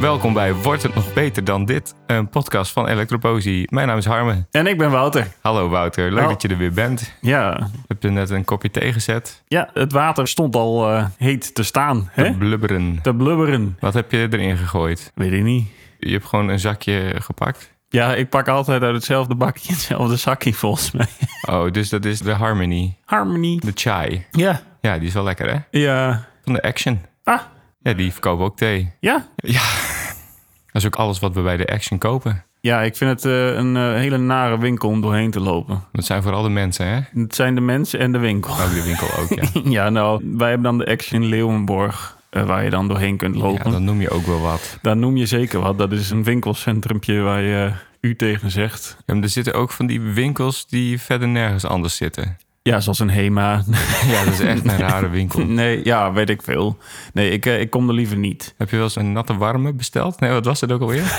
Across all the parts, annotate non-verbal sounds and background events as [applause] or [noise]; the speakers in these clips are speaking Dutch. Welkom bij Wordt het nog beter dan dit? Een podcast van Electroposie. Mijn naam is Harmen. En ik ben Wouter. Hallo Wouter, leuk Wel- dat je er weer bent. Ja, Heb je net een kopje thee gezet? ja het water stond al eh, heet te staan. Hè? Blubberen. Te blubberen. Wat heb je erin gegooid? Weet ik niet. Je hebt gewoon een zakje gepakt. Ja, ik pak altijd uit hetzelfde bakje [laughs] hetzelfde zakje volgens mij. Oh, dus dat is de Harmony. Harmony. De chai. Ja. Ja, die is wel lekker hè? Ja. Van de Action. Ah, Ja, die verkopen ook thee. ja. Ja. Dat is ook alles wat we bij de Action kopen. Ja, ik vind het eh, een eh, hele nare winkel om doorheen te lopen. Dat zijn vooral de mensen hè? Het zijn de mensen en de winkel. [laughs] Ook de winkel ook, ja. Ja, nou, wij hebben dan de Action Leeuwenborg. eh, waar je dan doorheen kunt Ja, lopen. dan noem je ook wel wat. Daar noem je zeker wat. Dat is een winkelcentrumpje waar je eh, u tegen zegt. Ja, maar er zitten ook van die winkels die verder nergens anders zitten. [laughs] Ja, zoals een HEMA. Ja, dat is echt een rare winkel. [laughs] Nee, ja, weet ik veel. Nee, ik, eh, ik kom er liever niet. Heb je wel eens een natte warme besteld? Nee, wat was dat ook alweer?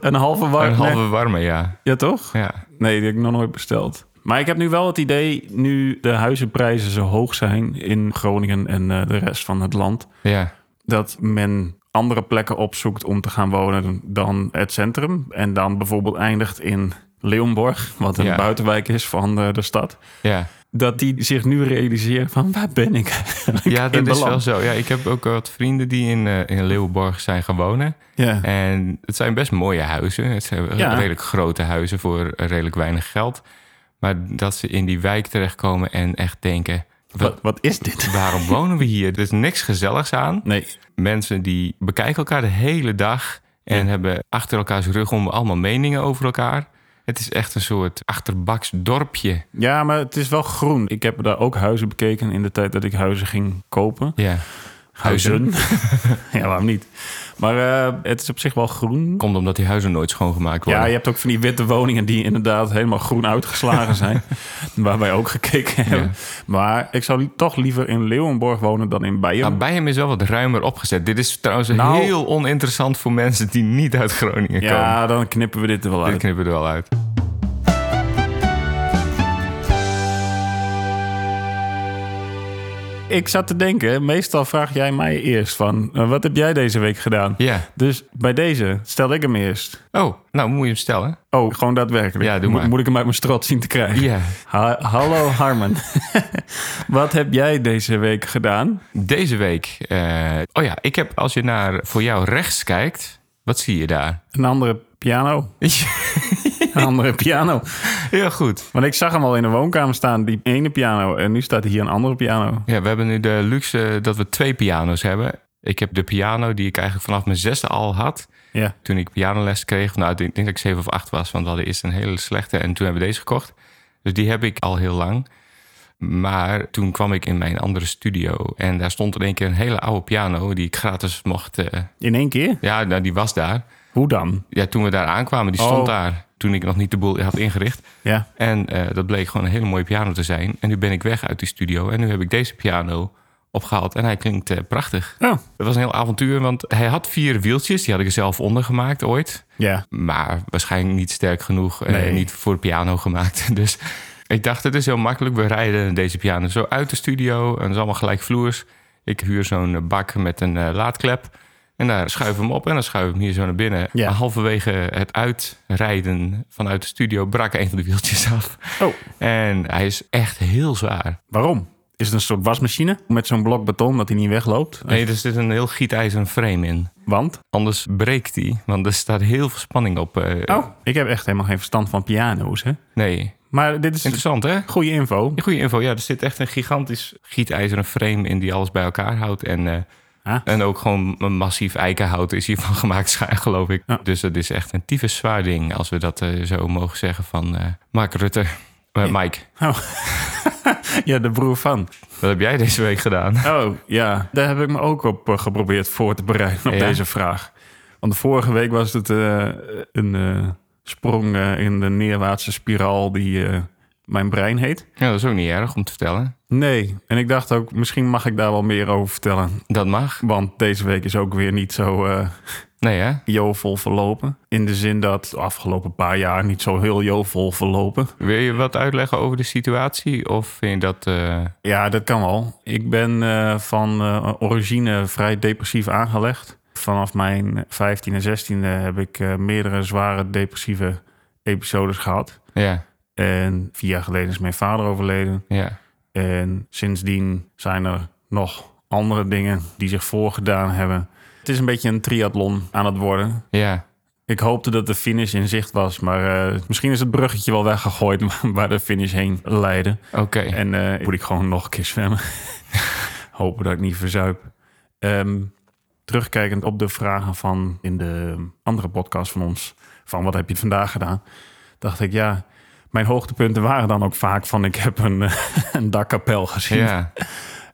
Een halve war. een Oh, nee. halve warme, ja. Ja, toch? ja. Nee, die heb ik nog nooit besteld. Maar ik heb nu wel het idee, nu de huizenprijzen zo hoog zijn in Groningen en eh, de rest van het land, Ja, dat men andere plekken opzoekt om te gaan wonen dan het centrum. En dan bijvoorbeeld eindigt in Leonborg, wat een Ja. buitenwijk is van eh, de stad. ja. Dat die zich nu realiseren van waar ben ik eigenlijk ja in dat is wel beland? zo. Ja, ik heb ook wat vrienden die in, eh, in Leeuwborg zijn gaan wonen. Ja. En het zijn best mooie huizen. Het zijn re- Ja. redelijk grote huizen voor redelijk weinig geld. Maar dat ze in die wijk terechtkomen en echt denken... Wat, wat is dit? Waarom wonen we hier? Er is niks gezelligs aan. Nee, mensen die bekijken elkaar de hele dag en hebben achter elkaars rug om allemaal meningen over elkaar. Het is echt een soort achterbaks dorpje. Ja, maar het is wel groen. Ik heb daar ook huizen bekeken in de tijd dat ik huizen ging kopen. Ja. Huizen. [laughs] ja, waarom niet? Maar eh, het is op zich wel groen. Komt omdat die huizen nooit schoongemaakt worden. Ja, je hebt ook van die witte woningen die inderdaad helemaal groen uitgeslagen [laughs] zijn. waar wij ook gekeken hebben. Maar ik zou li- toch liever in Leeuwenborg wonen dan in Beieren. Maar bij hem is wel wat ruimer opgezet. Dit is trouwens Nou- heel oninteressant voor mensen die niet uit Groningen komen. ja, dan knippen we dit er wel Dit uit. knippen we er wel uit. Ik zat te denken, meestal vraag jij mij eerst van... eh, wat heb jij deze week gedaan? Ja. Dus bij deze stel ik hem eerst. Oh, nou moet je hem stellen. Oh, gewoon daadwerkelijk. Ja, doe Mo- maar. Moet ik hem uit mijn strot zien te krijgen? Ja. Ha- Hallo Harman. [laughs] Wat heb jij deze week gedaan? Deze week. eh, oh ja, ik heb als je naar voor jou rechts kijkt, wat zie je daar? [laughs] Een andere piano. Een [laughs] andere piano. Heel goed. Want ik zag hem al in de woonkamer staan, die ene piano. En nu staat hier een andere piano. Ja, we hebben nu de luxe dat we twee piano's hebben. Ik heb de piano die ik eigenlijk vanaf mijn zesde al had. Ja. Toen ik pianoles kreeg. Nou, ik denk dat ik zeven of acht was. Want we hadden eerst een hele slechte. En toen hebben we deze gekocht. Dus die heb ik al heel lang. Maar toen kwam ik in mijn andere studio. En daar stond in één keer een hele oude piano. Die ik gratis mocht... eh, In één keer? ja, nou, die was daar. Hoe dan? Ja, toen we daar aankwamen, die stond Oh. daar. Toen ik nog niet de boel had ingericht. Ja. En eh, dat bleek gewoon een hele mooie piano te zijn. En nu ben ik weg uit die studio. En nu heb ik deze piano opgehaald. En hij klinkt eh, prachtig. Oh, Het was een heel avontuur, want hij had vier wieltjes. Die had ik er zelf onder gemaakt ooit. ja. Maar waarschijnlijk niet sterk genoeg. en Nee. Niet voor piano gemaakt. [laughs] Dus ik dacht, het is heel makkelijk. We rijden deze piano zo uit de studio. En het is allemaal gelijk vloers. Ik huur zo'n eh, bak met een eh, laadklep. En daar schuif hem op en dan schuif ik hem hier zo naar binnen. Ja. En Halverwege het uitrijden vanuit de studio brak een van de wieltjes af. Oh, En hij is echt heel zwaar. waarom? Is het een soort wasmachine met zo'n blok beton dat hij niet wegloopt? Nee, dus er zit een heel gietijzeren frame in. Want? Anders breekt hij, want er staat heel veel spanning op. eh. Oh, ik heb echt helemaal geen verstand van piano's, hè? Nee, Maar dit is interessant hè? goede info. Goede info. Ja, er zit echt een gigantisch gietijzeren frame in die alles bij elkaar houdt. En, eh, Ah. en ook gewoon een massief eikenhout is [laughs] hiervan gemaakt, scha- geloof ik. Ja. Dus dat is echt een tyfus zwaar ding, als we dat eh, zo mogen zeggen van eh Mark Rutte. Eh, Mike, Oh. [laughs] Ja, de broer van. wat heb jij deze week gedaan? Oh ja, daar heb ik me ook op eh, geprobeerd voor te bereiden op Ja. deze vraag. Want vorige week was het eh, een eh, sprong eh, in de neerwaartse spiraal die eh, mijn brein heet. Ja, dat is ook niet erg om te vertellen. Nee, en ik dacht ook, misschien mag ik daar wel meer over vertellen. Dat mag. Want deze week is ook weer niet zo eh, Nee, hè? jovel verlopen. In de zin dat de afgelopen paar jaar niet zo heel jovel verlopen. Wil je wat uitleggen over de situatie? Of vind je dat... eh, Ja, dat kan wel. Ik ben eh, van eh, origine vrij depressief aangelegd. Vanaf mijn 15e en 16e heb ik eh, meerdere zware depressieve episodes gehad. ja, En vier jaar geleden is mijn vader overleden. ja, En sindsdien zijn er nog andere dingen die zich voorgedaan hebben. Het is een beetje een triathlon aan het worden. ja. Ik hoopte dat de finish in zicht was, maar eh, misschien is het bruggetje wel weggegooid [laughs] waar de finish heen leidde. Oké. En eh, moet ik gewoon nog een keer zwemmen. [laughs] Hopen dat ik niet verzuip. Ehm, terugkijkend op de vragen van in de andere podcast van ons, van wat heb je vandaag gedaan, dacht ik ja, mijn hoogtepunten waren dan ook vaak van ik heb een, [laughs] eh, een dakkapel gezien. Ja,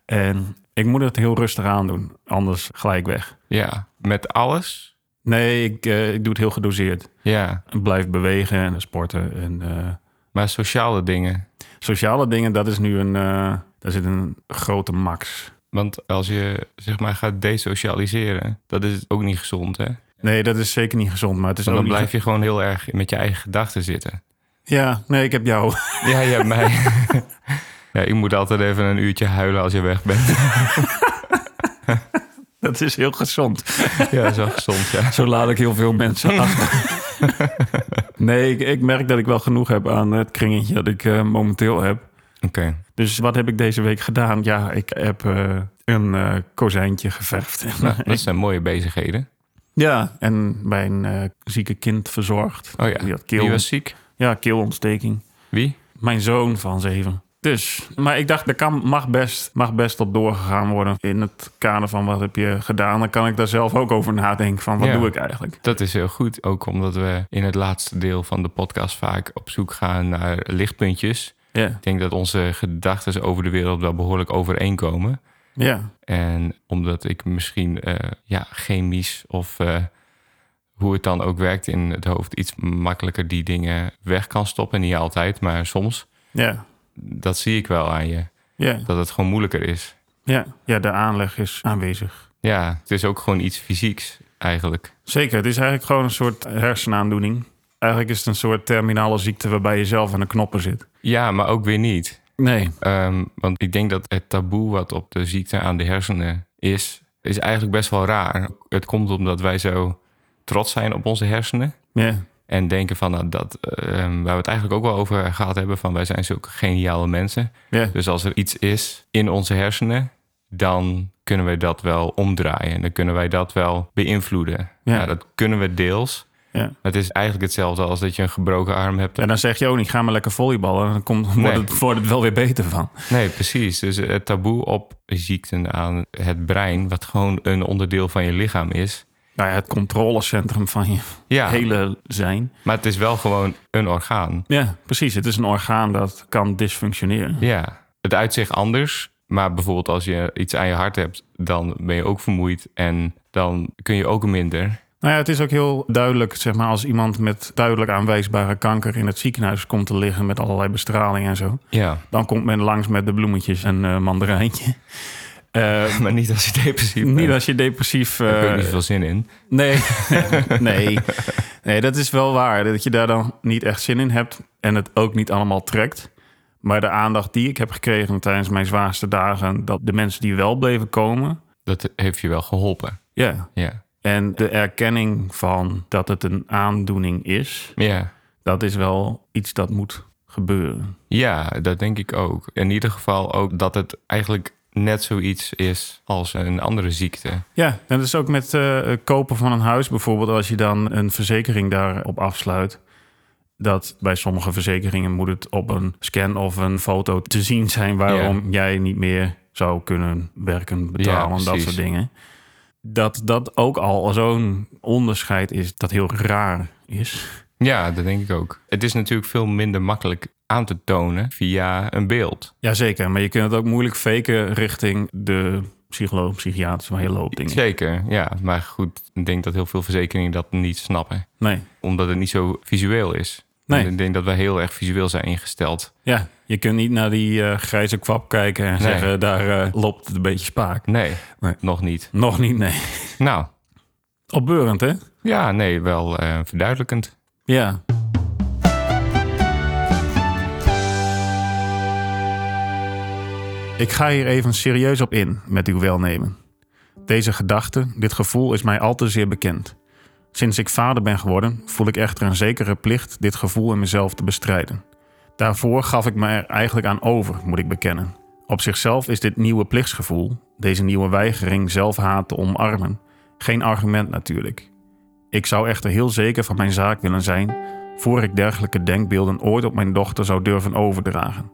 En ik moet het heel rustig aandoen, anders gelijk weg. ja. Met alles? Nee, ik, eh, ik doe het heel gedoseerd. Ja. Blijf bewegen en sporten en... eh, Maar sociale dingen? Sociale dingen, dat is nu een. eh, daar zit een grote max. Want als je, zeg maar, gaat desocialiseren... dat is ook niet gezond, hè? Nee, dat is zeker niet gezond, maar het is Want ook dan niet- blijf je gewoon heel erg met je eigen gedachten zitten. Ja, nee, ik heb jou. [laughs] Ja, ja, mij. [laughs] ja, ik moet altijd even een uurtje huilen als je weg bent. [laughs] dat is heel gezond. ja, dat is wel gezond, ja. Zo laat ik heel veel mensen achter. [laughs] nee, ik, ik merk dat ik wel genoeg heb aan het kringetje dat ik eh, momenteel heb. Oké. Dus wat heb ik deze week gedaan? Ja, ik heb eh, een eh, kozijntje geverfd. [laughs] Nou, dat zijn mooie bezigheden. ja, en mijn eh, zieke kind verzorgd. Oh ja, Die had Wie keel, was ziek? ja, keelontsteking. Wie? Mijn zoon van zeven. Dus, maar ik dacht, daar kan, mag, best, mag best op doorgegaan worden. In het kader van wat heb je gedaan, dan kan ik daar zelf ook over nadenken. Van wat Ja. doe ik eigenlijk? Dat is heel goed, ook omdat we in het laatste deel van de podcast vaak op zoek gaan naar lichtpuntjes. Ja, Ik denk dat onze gedachten over de wereld wel behoorlijk overeenkomen. ja, En omdat ik misschien eh, ja, chemisch of eh, hoe het dan ook werkt in het hoofd iets makkelijker die dingen weg kan stoppen. Niet altijd, maar soms. ja, Dat zie ik wel aan je, ja, dat het gewoon moeilijker is. ja. Ja, de aanleg is aanwezig. Ja, het is ook gewoon iets fysieks eigenlijk. Zeker, het is eigenlijk gewoon een soort hersenaandoening. Eigenlijk is het een soort terminale ziekte waarbij je zelf aan de knoppen zit. Ja, maar ook weer niet. Nee. Ehm, want ik denk dat het taboe wat op de ziekte aan de hersenen is, is eigenlijk best wel raar. Het komt omdat wij zo trots zijn op onze hersenen. Ja, En denken van nou, dat, ehm, waar we het eigenlijk ook wel over gehad hebben, van wij zijn zulke geniale mensen. ja, Dus als er iets is in onze hersenen, dan kunnen wij dat wel omdraaien. Dan kunnen wij dat wel beïnvloeden. Ja. Ja. dat kunnen we deels. ja. Het is eigenlijk hetzelfde als dat je een gebroken arm hebt. En dan zeg je ook niet, ga maar lekker volleyballen. Dan komt, wordt, Nee. het, wordt het wel weer beter van. Nee, precies. Dus het taboe op ziekten aan het brein, wat gewoon een onderdeel van je lichaam is. Nou ja, het controlecentrum van je Ja, hele zijn. maar het is wel gewoon een orgaan. Ja, precies. Het is een orgaan dat kan dysfunctioneren. Ja, het uitzicht anders. Maar bijvoorbeeld als je iets aan je hart hebt, dan ben je ook vermoeid en dan kun je ook minder. Nou ja, het is ook heel duidelijk, zeg maar, als iemand met duidelijk aanwijsbare kanker in het ziekenhuis komt te liggen met allerlei bestraling en zo. Ja, Dan komt men langs met de bloemetjes en eh mandarijntje. [laughs] Eh, [laughs] maar niet als je depressief bent. niet als je depressief. Daar heb ik eh, ook niet veel zin in. nee. nee. [laughs] Nee, dat is wel waar. Dat je daar dan niet echt zin in hebt en het ook niet allemaal trekt. Maar de aandacht die ik heb gekregen tijdens mijn zwaarste dagen, dat de mensen die wel bleven komen, Dat heeft je wel geholpen. ja, Ja, En de erkenning van dat het een aandoening is, ja. dat is wel iets dat moet gebeuren. ja dat denk ik ook. In ieder geval ook dat het eigenlijk net zoiets is als een andere ziekte. Ja, en dat is ook met eh, het kopen van een huis bijvoorbeeld. Als je dan een verzekering daarop afsluit. Dat bij sommige verzekeringen moet het op een scan of een foto te zien zijn waarom jij niet meer zou kunnen werken, betalen en dat precies. soort dingen. Dat dat ook al zo'n onderscheid is dat heel raar is. Ja, dat denk ik ook. Het is natuurlijk veel minder makkelijk aan te tonen via een beeld. Jazeker, maar je kunt het ook moeilijk faken richting de psycholoog, psychiater, zo'n hele hoop dingen. Zeker, ja. Maar goed, ik denk dat heel veel verzekeringen dat niet snappen. Nee, Omdat het niet zo visueel is. Nee. Ik denk dat wij heel erg visueel zijn ingesteld. ja, je kunt niet naar die eh, grijze kwap kijken en Nee. zeggen, daar eh, loopt het een beetje spaak. Nee, Nee. nog niet. Nog niet, nee. Nou, Opbeurend, hè? Ja, nee, wel eh, verduidelijkend. Ja. Ik ga hier even serieus op in met uw welnemen. Deze gedachte, dit gevoel is mij al te zeer bekend. Sinds ik vader ben geworden, voel ik echter een zekere plicht dit gevoel in mezelf te bestrijden. Daarvoor gaf ik me er eigenlijk aan over, moet ik bekennen. Op zichzelf is dit nieuwe plichtsgevoel, deze nieuwe weigering zelfhaat te omarmen, geen argument natuurlijk. Ik zou echter heel zeker van mijn zaak willen zijn voor ik dergelijke denkbeelden ooit op mijn dochter zou durven overdragen.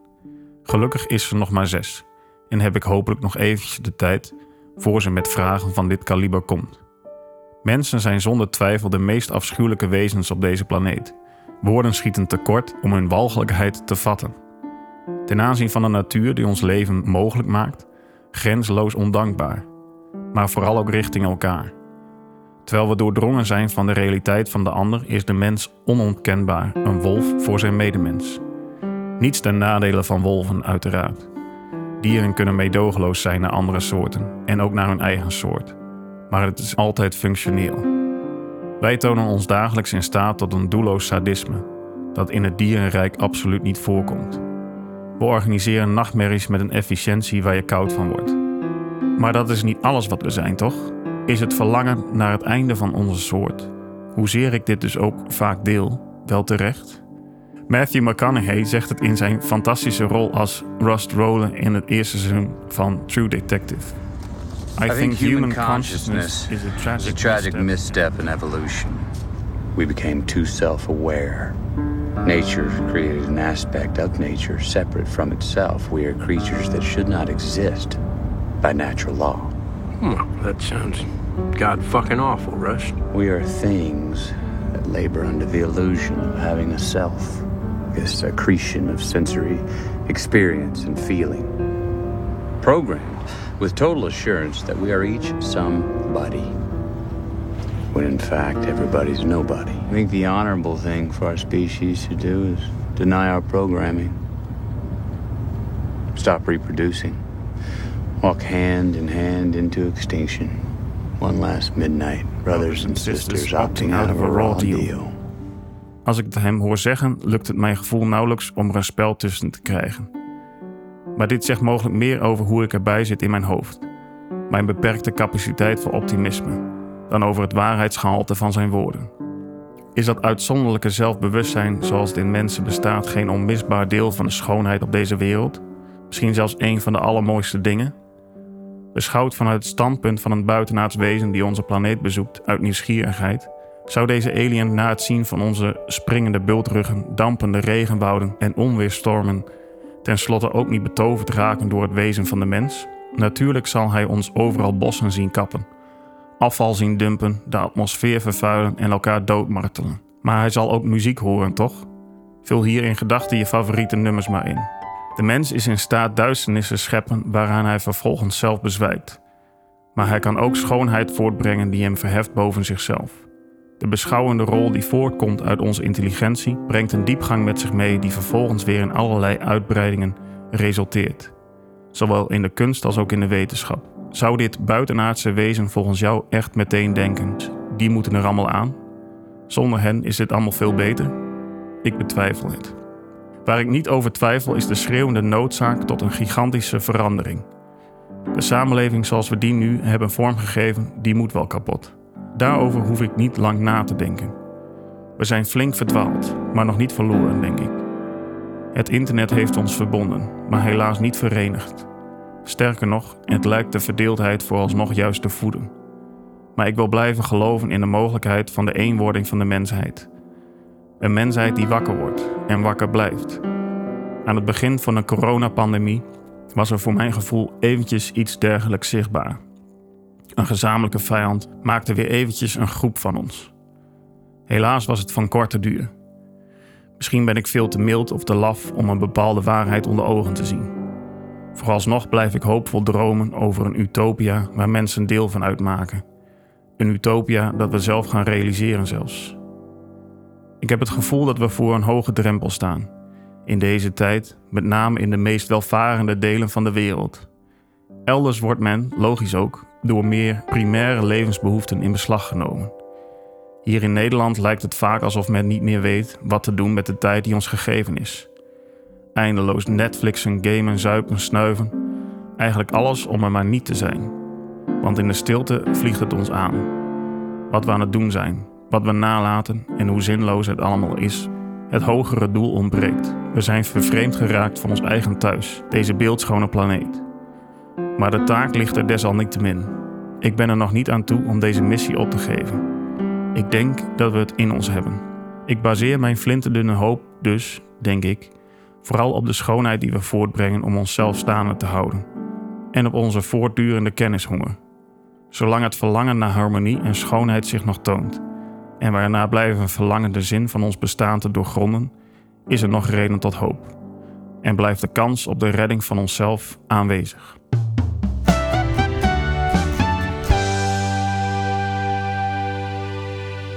Gelukkig is ze nog maar zes en heb ik hopelijk nog eventjes de tijd voor ze met vragen van dit kaliber komt. Mensen zijn zonder twijfel de meest afschuwelijke wezens op deze planeet. Woorden schieten tekort om hun walgelijkheid te vatten. Ten aanzien van de natuur die ons leven mogelijk maakt, grenzeloos ondankbaar, maar vooral ook richting elkaar. Terwijl we doordrongen zijn van de realiteit van de ander, is de mens onontkenbaar een wolf voor zijn medemens. Niets ten nadele van wolven, uiteraard. Dieren kunnen meedogenloos zijn naar andere soorten en ook naar hun eigen soort. Maar het is altijd functioneel. Wij tonen ons dagelijks in staat tot een doelloos sadisme, dat in het dierenrijk absoluut niet voorkomt. We organiseren nachtmerries met een efficiëntie waar je koud van wordt. Maar dat is niet alles wat we zijn, toch? is het verlangen naar het einde van onze soort. Hoezeer ik dit dus ook vaak deel, wel terecht? Matthew McConaughey zegt het in zijn fantastische rol als Rust Roland in het eerste seizoen van True Detective. I, think human consciousness is a tragic, It was a tragic misstep. misstep in evolution. We became too self aware. Nature created an aspect of nature separate from itself. We are creatures that should not exist by natural law. Hmm, that sounds god fucking awful, Rush. We are things that labor under the illusion of having a self, this accretion of sensory experience and feeling. Programmed with total assurance that we are each somebody, when in fact everybody's nobody. I think the honorable thing for our species to do is deny our programming, stop reproducing, walk hand in hand into extinction. One last midnight, brothers and sisters opting out of a raw deal. Als ik het hem hoor zeggen, lukt het mijn gevoel nauwelijks om er een spel tussen te krijgen. Maar dit zegt mogelijk meer over hoe ik erbij zit in mijn hoofd. Mijn beperkte capaciteit voor optimisme, dan over het waarheidsgehalte van zijn woorden. Is dat uitzonderlijke zelfbewustzijn zoals het in mensen bestaat geen onmisbaar deel van de schoonheid op deze wereld? Misschien zelfs een van de allermooiste dingen? Beschouwd vanuit het standpunt van een buitenaards wezen die onze planeet bezoekt uit nieuwsgierigheid, zou deze alien na het zien van onze springende bultruggen, dampende regenwouden en onweerstormen tenslotte ook niet betoverd raken door het wezen van de mens? Natuurlijk zal hij ons overal bossen zien kappen, afval zien dumpen, de atmosfeer vervuilen en elkaar doodmartelen. Maar hij zal ook muziek horen, toch? Vul hier in gedachten je favoriete nummers maar in. De mens is in staat duisternis te scheppen waaraan hij vervolgens zelf bezwijkt. Maar hij kan ook schoonheid voortbrengen die hem verheft boven zichzelf. De beschouwende rol die voortkomt uit onze intelligentie brengt een diepgang met zich mee die vervolgens weer in allerlei uitbreidingen resulteert. Zowel in de kunst als ook in de wetenschap. Zou dit buitenaardse wezen volgens jou echt meteen denken, die moeten er allemaal aan? Zonder hen is dit allemaal veel beter? Ik betwijfel het. Waar ik niet over twijfel is de schreeuwende noodzaak tot een gigantische verandering. De samenleving zoals we die nu hebben vormgegeven, die moet wel kapot. Daarover hoef ik niet lang na te denken. We zijn flink verdwaald, maar nog niet verloren, denk ik. Het internet heeft ons verbonden, maar helaas niet verenigd. Sterker nog, het lijkt de verdeeldheid vooralsnog juist te voeden. Maar ik wil blijven geloven in de mogelijkheid van de eenwording van de mensheid. Een mensheid die wakker wordt en wakker blijft. Aan het begin van de coronapandemie was er voor mijn gevoel eventjes iets dergelijks zichtbaar. Een gezamenlijke vijand maakte weer eventjes een groep van ons. Helaas was het van korte duur. Misschien ben ik veel te mild of te laf om een bepaalde waarheid onder ogen te zien. Vooralsnog blijf ik hoopvol dromen over een utopia waar mensen deel van uitmaken. Een utopia dat we zelf gaan realiseren zelfs. Ik heb het gevoel dat we voor een hoge drempel staan. In deze tijd, met name in de meest welvarende delen van de wereld. Elders wordt men, logisch ook, door meer primaire levensbehoeften in beslag genomen. Hier in Nederland lijkt het vaak alsof men niet meer weet wat te doen met de tijd die ons gegeven is. Eindeloos Netflixen, gamen, zuipen, snuiven. Eigenlijk alles om er maar niet te zijn. Want in de stilte vliegt het ons aan. Wat we aan het doen zijn, wat we nalaten en hoe zinloos het allemaal is. Het hogere doel ontbreekt. We zijn vervreemd geraakt van ons eigen thuis, deze beeldschone planeet. Maar de taak ligt er desalniettemin. Ik ben er nog niet aan toe om deze missie op te geven. Ik denk dat we het in ons hebben. Ik baseer mijn flinterdunne hoop dus, denk ik, vooral op de schoonheid die we voortbrengen om onszelf staande te houden. En op onze voortdurende kennishonger. Zolang het verlangen naar harmonie en schoonheid zich nog toont. En waarna blijven verlangen de zin van ons bestaan te doorgronden, is er nog reden tot hoop. En blijft de kans op de redding van onszelf aanwezig.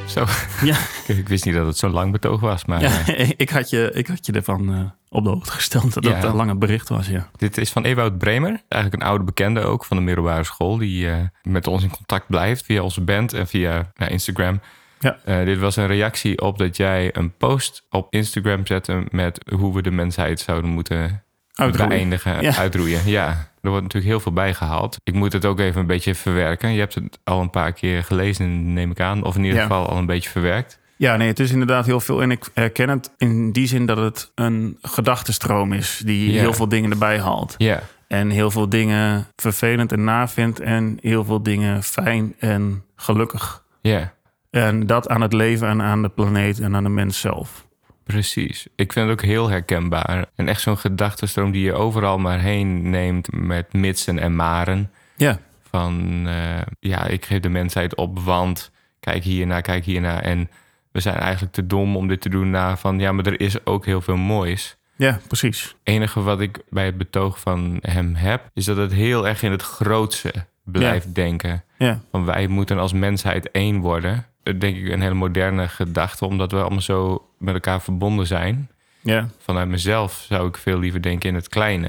Zo. [laughs] Ja. Ik, ik wist niet dat het zo'n lang betoog was, maar eh, [laughs] ik, had je, ik had je ervan eh, op de hoogte gesteld dat Ja. het een lange bericht was, ja. dit is van Ewout Bremer. Eigenlijk een oude bekende ook van de middelbare school. Die eh, met ons in contact blijft via onze band en via nou, Instagram. Ja. Eh, dit was een reactie op dat jij een post op Instagram zette met hoe we de mensheid zouden moeten Uitroeien. beëindigen, Ja. uitroeien. Ja, er wordt natuurlijk heel veel bijgehaald. Ik moet het ook even een beetje verwerken. Je hebt het al een paar keer gelezen, neem ik aan. Of in ieder Ja. geval al een beetje verwerkt. Ja, nee, het is inderdaad heel veel. En ik herken het in die zin dat het een gedachtenstroom is die Ja. heel veel dingen erbij haalt. Ja. En heel veel dingen vervelend en navindt en heel veel dingen fijn en gelukkig. Ja. En dat aan het leven en aan de planeet en aan de mens zelf. Precies. Ik vind het ook heel herkenbaar. En echt zo'n gedachtenstroom die je overal maar heen neemt met mitsen en maren. Ja, Van eh, ja, ik geef de mensheid op, want kijk hierna, kijk hierna. En we zijn eigenlijk te dom om dit te doen. Na van ja, maar er is ook heel veel moois. ja precies. enige wat ik bij het betoog van hem heb, is dat het heel erg in het grootste blijft denken. Ja, Van wij moeten als mensheid één worden. Dat denk ik een hele moderne gedachte, omdat we allemaal zo met elkaar verbonden zijn ja. vanuit mezelf zou ik veel liever denken in het kleine.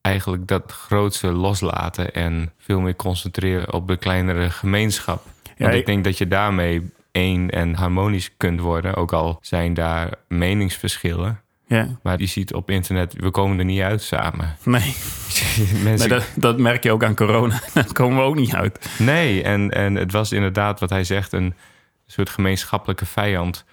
Eigenlijk dat grootste loslaten en veel meer concentreren op de kleinere gemeenschap. Want ik- ik denk dat je daarmee één en harmonisch kunt worden, ook al zijn daar meningsverschillen. ja. Maar je ziet op internet, we komen er niet uit samen. Nee, Mensen, nee dat, dat merk je ook aan corona. [laughs] Daar komen we ook niet uit. nee en, en het was inderdaad wat hij zegt, een soort gemeenschappelijke vijand.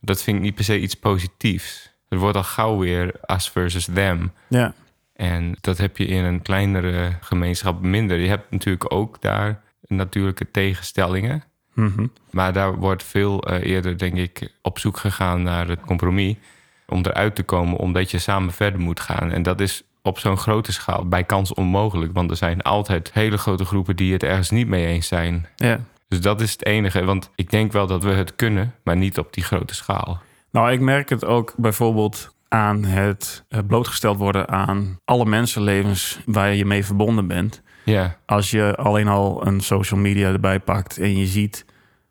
Dat vind ik niet per se iets positiefs. Het wordt al gauw weer us versus them. Ja, En dat heb je in een kleinere gemeenschap minder. Je hebt natuurlijk ook daar natuurlijke tegenstellingen. Maar daar wordt veel eh, eerder, denk ik, op zoek gegaan naar het compromis. Om eruit te komen, omdat je samen verder moet gaan. En dat is op zo'n grote schaal bij kans onmogelijk. Want er zijn altijd hele grote groepen die het ergens niet mee eens zijn. ja. Dus dat is het enige. Want ik denk wel dat we het kunnen, maar niet op die grote schaal. Nou, ik merk het ook bijvoorbeeld aan het eh, blootgesteld worden aan alle mensenlevens waar je mee verbonden bent. Ja, Als je alleen al een social media erbij pakt en je ziet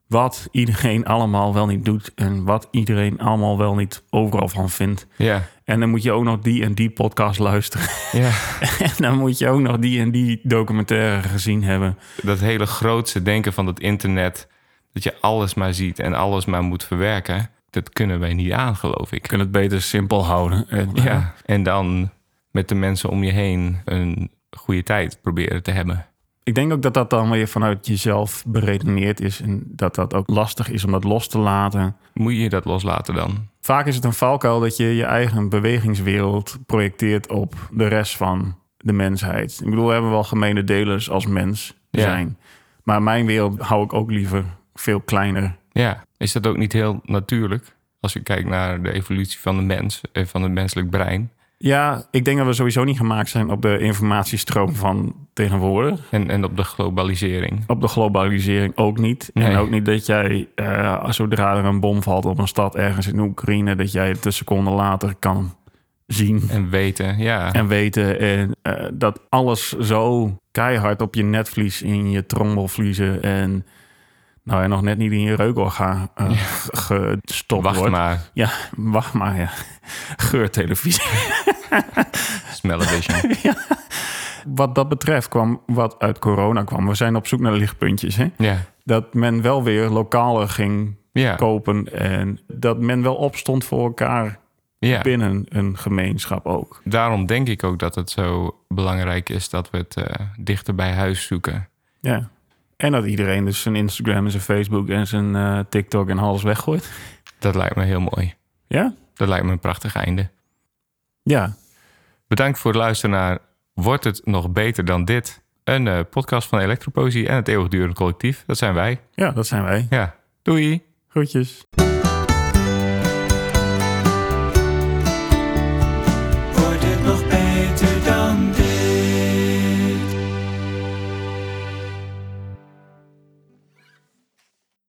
wat iedereen [laughs] allemaal wel niet doet en wat iedereen allemaal wel niet overal van vindt. ja, En dan moet je ook nog die en die podcast [laughs] luisteren. ja. en dan moet je ook nog die en die documentaire gezien hebben. dat hele grootste denken van het internet, dat je alles maar ziet en alles maar moet verwerken, dat kunnen wij niet aan, geloof ik. Kunnen het beter simpel houden. En, eh, Ja. En dan met de mensen om je heen een goede tijd proberen te hebben. Ik denk ook dat dat dan weer vanuit jezelf beredeneerd is. En dat dat ook lastig is om dat los te laten. Moet je dat loslaten dan? Vaak is het een valkuil dat je je eigen bewegingswereld projecteert op de rest van de mensheid. Ik bedoel, we hebben wel gemene delers als mens Ja. zijn. Maar mijn wereld hou ik ook liever veel kleiner. Ja. Is dat ook niet heel natuurlijk? Als je kijkt naar de evolutie van de mens, eh, van het menselijk brein. Ja, ik denk dat we sowieso niet gemaakt zijn op de informatiestroom van tegenwoordig. En, en op de globalisering. Op de globalisering ook niet. En Nee. ook niet dat jij, eh, zodra er een bom valt op een stad ergens in Oekraïne, dat jij het een seconde later kan zien. En weten, ja. en weten. En eh, dat alles zo keihard op je netvlies, in je trommelvliezen en nou ja, nog net niet in je reukorgaan eh, g- gestopt Wacht wordt. maar, Ja, [laughs] wacht maar, ja. Geurtelevisie. [laughs] smell vision. [laughs] wat dat betreft kwam, wat uit corona kwam. We zijn op zoek naar lichtpuntjes. Hè? Ja. Dat men wel weer lokaler ging Ja. kopen. En dat men wel opstond voor elkaar ja. binnen een gemeenschap ook. Daarom denk ik ook dat het zo belangrijk is dat we het eh, dichter bij huis zoeken. Ja. En dat iedereen dus zijn Instagram en zijn Facebook en zijn eh, TikTok en alles weggooit. Dat lijkt me heel mooi. Ja? Dat lijkt me een prachtig einde. Ja. Bedankt voor het luisteren naar Wordt het nog beter dan dit? Een eh, podcast van Elektropoëzie en het eeuwigdurende collectief. Dat zijn wij. Ja, dat zijn wij. Ja. Doei! Groetjes.